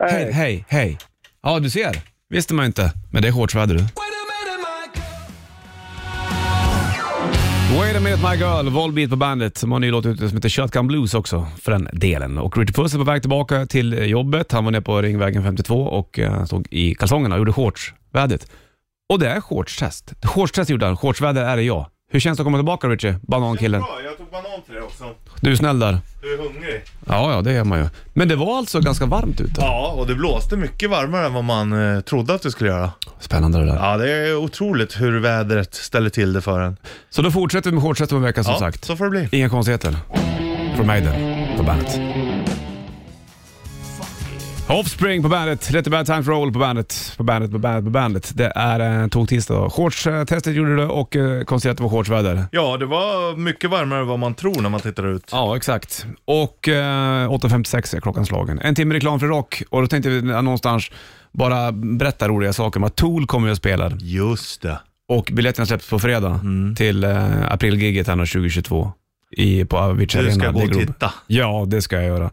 Speaker 2: Hej, hej, hej. Ja, du ser. Visste man ju inte. Men det är shortsväder du. Wait a minute my girl, Volbeat på bandet. De har en ny låt ute som heter Shotgun Blues också, för den delen. Och Richard Puss är på väg tillbaka till jobbet. Han var nere på Ringvägen 52 och eh, stod i kalsongerna och gjorde shortsvädret. Och det är shortstest. Shortstest gjorde han, shortsväder är det jag. Hur känns det att komma tillbaka Richard? Banankillen.
Speaker 3: Bra, jag tog banan till dig också.
Speaker 2: Du är snäll där.
Speaker 3: Du är hungrig.
Speaker 2: Ja, ja, det är man ju. Men det var alltså ganska varmt ute.
Speaker 3: Ja, och det blåste mycket varmare än vad man eh, trodde att det skulle göra.
Speaker 2: Spännande det där.
Speaker 3: Ja, det är otroligt hur vädret ställer till det för en.
Speaker 2: Så då fortsätter vi med shortset om en vecka som
Speaker 3: Ja,
Speaker 2: sagt.
Speaker 3: så får det bli.
Speaker 2: Inga konstigheter. Från Maiden på bandet. Offspring på bandet, Let the bad times roll på bandet, på bandet, på bandet, på bandet. Det är eh, en tog tisdag då. Shortstestet gjorde du och eh, konstigt att det var shortsväder.
Speaker 3: Ja, det var mycket varmare än vad man tror när man tittar ut.
Speaker 2: Ja, exakt. Och eh, 8.56 är klockan slagen. En timme reklam för rock och då tänkte vi någonstans bara berätta roliga saker om att Tool kommer ju att spela.
Speaker 3: Just det.
Speaker 2: Och biljetterna släpps på fredag
Speaker 3: Mm.
Speaker 2: till eh, aprilgiget här nu 2022 i, på Avicii
Speaker 3: Du
Speaker 2: Arena.
Speaker 3: ska gå
Speaker 2: Det är
Speaker 3: och
Speaker 2: gro-
Speaker 3: titta.
Speaker 2: Ja, det ska jag göra.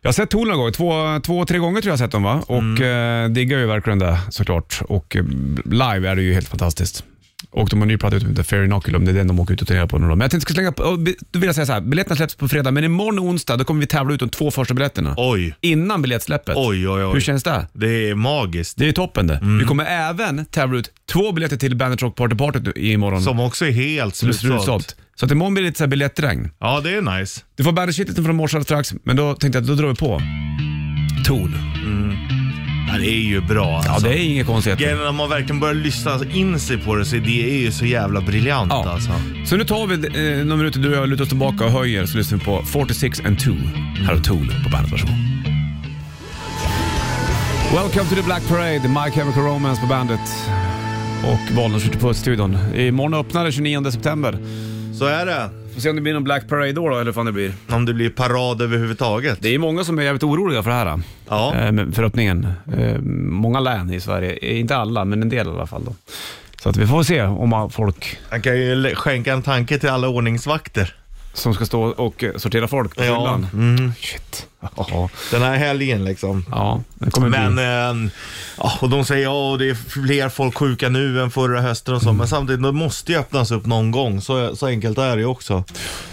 Speaker 2: Jag har sett Tool några gånger, två, två, tre gånger tror jag jag har sett dem va?
Speaker 3: Mm.
Speaker 2: Och eh, diggar ju verkligen det såklart. Och eh, live är det ju helt fantastiskt. Och de har en ny platta ute, som heter Fair Inoculum, det är den de åker ut och turnerar på nu då. Men jag tänkte slänga på, och bi- då vill jag säga så här, biljetterna släpps på fredag, men imorgon onsdag då kommer vi tävla ut de två första biljetterna.
Speaker 3: Oj,
Speaker 2: Innan biljettsläppet.
Speaker 3: oj, oj,
Speaker 2: Hur
Speaker 3: oj.
Speaker 2: känns det?
Speaker 3: Det är magiskt.
Speaker 2: Det är ju toppen det.
Speaker 3: Mm.
Speaker 2: Vi kommer även tävla ut två biljetter till Bandit Rock Party Party nu- imorgon.
Speaker 3: Som också är helt slutsålt.
Speaker 2: slutsålt. Så att imorgon blir det lite så här biljettregn.
Speaker 3: Ja, det är nice.
Speaker 2: Du får bandet-kitteln från morse alldeles strax, men då tänkte jag att då drar vi på. Tool.
Speaker 3: Ja, det är ju bra
Speaker 2: Ja,
Speaker 3: alltså.
Speaker 2: det är inget konstigt.
Speaker 3: Grejen är om man verkligen börjar lyssna in sig på det så det är ju så jävla briljant
Speaker 2: Ja.
Speaker 3: alltså.
Speaker 2: Så nu tar vi eh, några minuter du och jag lutar oss tillbaka och höjer så lyssnar vi på 46 and 2.
Speaker 3: Mm.
Speaker 2: Här har Tool på bandet, varsågod. Welcome to the Black Parade, My Chemical Romance på bandet. Och Bollnäs skjuter på studion. Imorgon öppnar det 29 september.
Speaker 3: Så är det.
Speaker 2: Får se om det blir någon Black Parade då, då eller vad det blir.
Speaker 3: Om det blir parad överhuvudtaget.
Speaker 2: Det är många som är jävligt oroliga för det här.
Speaker 3: Ja.
Speaker 2: eh, men För öppningen. Eh, Många län i Sverige. Eh, Inte alla, men en del i alla fall. Då. Så att vi får se om man- folk
Speaker 3: Han kan ju lä- skänka en tanke till alla ordningsvakter.
Speaker 2: som ska stå och eh, sortera folk på fyllan.
Speaker 3: Mm.
Speaker 2: Shit. Ja.
Speaker 3: Den här helgen liksom.
Speaker 2: Ja, det kommer bli.
Speaker 3: Men, eh, ja, och de säger ja och det är fler folk sjuka nu än förra hösten och så.
Speaker 2: Mm.
Speaker 3: Men samtidigt, det måste ju öppnas upp någon gång. Så, så enkelt är det ju också.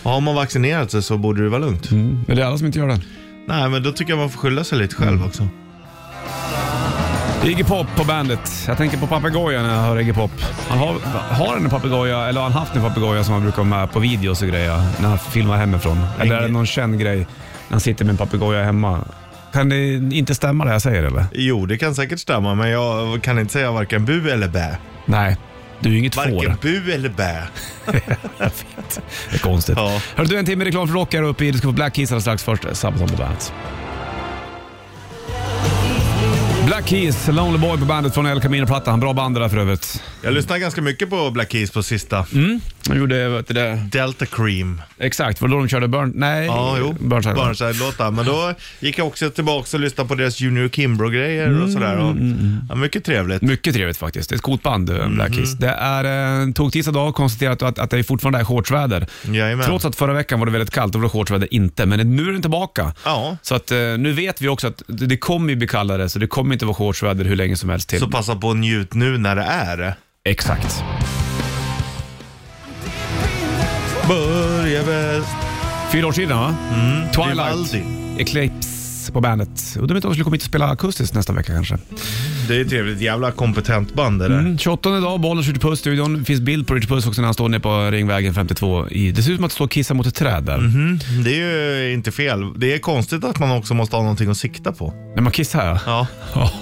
Speaker 3: Ja, har man vaccinerat sig så borde det vara lugnt.
Speaker 2: Mm. Men det är alla som inte gör det.
Speaker 3: Nej, men då tycker jag man får skylla sig lite
Speaker 2: Mm.
Speaker 3: själv också.
Speaker 2: Iggy Pop på bandet. Jag tänker på papegojan när jag hör Iggy Pop. Han har, har en papegoja, eller har han haft en papegoja som han brukar ha med på videos och grejer när han filmar hemifrån? Eller är det någon känd grej när han sitter med en papegoja hemma? Kan det inte stämma det jag säger eller?
Speaker 3: Jo, det kan säkert stämma, men jag kan inte säga varken bu eller bä.
Speaker 2: Nej, du är ju inget
Speaker 3: Varken
Speaker 2: får.
Speaker 3: bu eller bä.
Speaker 2: Det är konstigt.
Speaker 3: Ja.
Speaker 2: Hörru du, en timme reklam för rock här uppe i. Du ska få Black Keys alldeles strax. Först Sabaton på bandet. Black Keys, Lonely Boy på bandet från El Camino-plattan. Bra band det där för övrigt.
Speaker 3: Jag lyssnade ganska mycket på Black Keys på sista.
Speaker 2: Mm. De gjorde, vet du det?
Speaker 3: Delta Cream.
Speaker 2: Exakt, var det då de körde Burn... Nej,
Speaker 3: Ja, jo.
Speaker 2: Burnside.
Speaker 3: Burnside-låtar. Men då gick jag också tillbaka och lyssnade på deras Junior Kimbrough-grejer och sådär. Och, ja, mycket trevligt.
Speaker 2: Mm. Mycket trevligt faktiskt. Det är ett coolt band, eh, Black
Speaker 3: Mhm.
Speaker 2: Keys. Det är eh, en tog tisdag dag konstaterat att, att det är fortfarande är shortsväder.
Speaker 3: Jajamän.
Speaker 2: Trots att förra veckan var det väldigt kallt, då var det shortsväder inte. Men nu är den tillbaka.
Speaker 3: Ja.
Speaker 2: Så att, eh, nu vet vi också att det det kommer ju bli kallare, så det kommer inte vara shortsväder hur länge som helst till.
Speaker 3: Så passa på att njut nu när det är det.
Speaker 2: Exakt.
Speaker 3: Börja väl.
Speaker 2: Fyraårssidan va? Mm. Twilight,
Speaker 3: Vivaldi.
Speaker 2: Eclipse på bandet. Undrar om inte de skulle komma hit och spela akustiskt nästa vecka kanske.
Speaker 3: Det är trevligt. Jävla kompetent band det där.
Speaker 2: Mm, 28 idag, bollen skjuter puss studion. Det finns bild på Richard Puss också när han står nere på Ringvägen 52. I, det ser ut som att det står kissa mot ett träd där.
Speaker 3: Mhm. Mm. Det är ju inte fel. Det är konstigt att man också måste ha någonting att sikta på.
Speaker 2: När man kissar ja.
Speaker 3: Ja,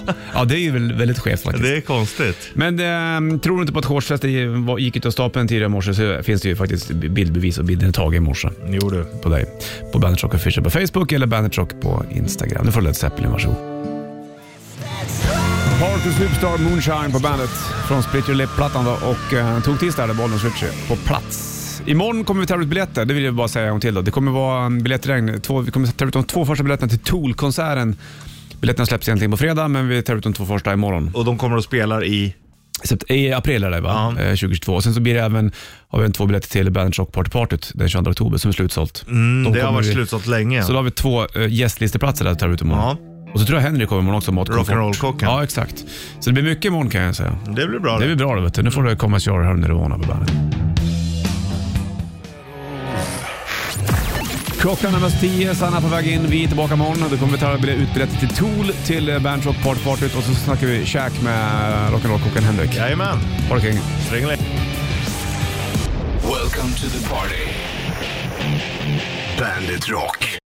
Speaker 2: Ja. ja, det är ju väl väldigt skevt faktiskt.
Speaker 3: det är konstigt.
Speaker 2: Men ehm, tror du inte på att shortsfester gick ut av stapeln tidigare i morse så finns det ju faktiskt bildbevis och bilder tagen i morse
Speaker 3: Jo du.
Speaker 2: på dig. På Bandit Rock Official på Facebook eller Bandit Rock på Instagram. Nu får du Led Zeppelin, varsågod. Party Superstar Moonshine på bandet från Split Your Lip-plattan då och eh, tog tisdag där bollen switch på plats. Imorgon kommer vi tävla ut biljetter, det vill jag bara säga en gång till då. Det kommer vara en biljettregn. Två, vi kommer tävla ut de två första biljetterna till Tool-konserten. Biljetterna släpps egentligen på fredag, men vi tävlar ut de två första imorgon.
Speaker 3: Och de kommer och spelar i...
Speaker 2: Sept- I april är det va?
Speaker 3: Ja.
Speaker 2: Eh, 2022. Och sen så blir det även, har vi en två biljetter till Bandage Rock Party Partyt den 22 oktober som är slutsålt.
Speaker 3: Mm,
Speaker 2: De
Speaker 3: det har
Speaker 2: kommer
Speaker 3: varit
Speaker 2: vi-
Speaker 3: slutsålt länge.
Speaker 2: Så då har vi två eh, gästlisteplatser där tar vi ut imorgon. Och så tror jag Henry kommer imorgon också. Mat-
Speaker 3: Rock'n'roll-kocken.
Speaker 2: Ja, exakt. Så det blir mycket imorgon kan jag säga.
Speaker 3: Det blir bra
Speaker 2: Det blir bra det vet du. Nu får du komma och köra här under Nirvana på bandet. Klockan närmar sig tio, Sanna på väg in. Vi är tillbaka imorgon. Då kommer vi ta bil- ut biljetter till Tool, till eh, Bandage Rock Party Partyt och så snackar vi käk med rock'n'roll-kocken Henrik.
Speaker 3: Jajamän.
Speaker 2: Ha det kring.
Speaker 3: Ringeling.
Speaker 1: Welcome to the party. Bandit Rock.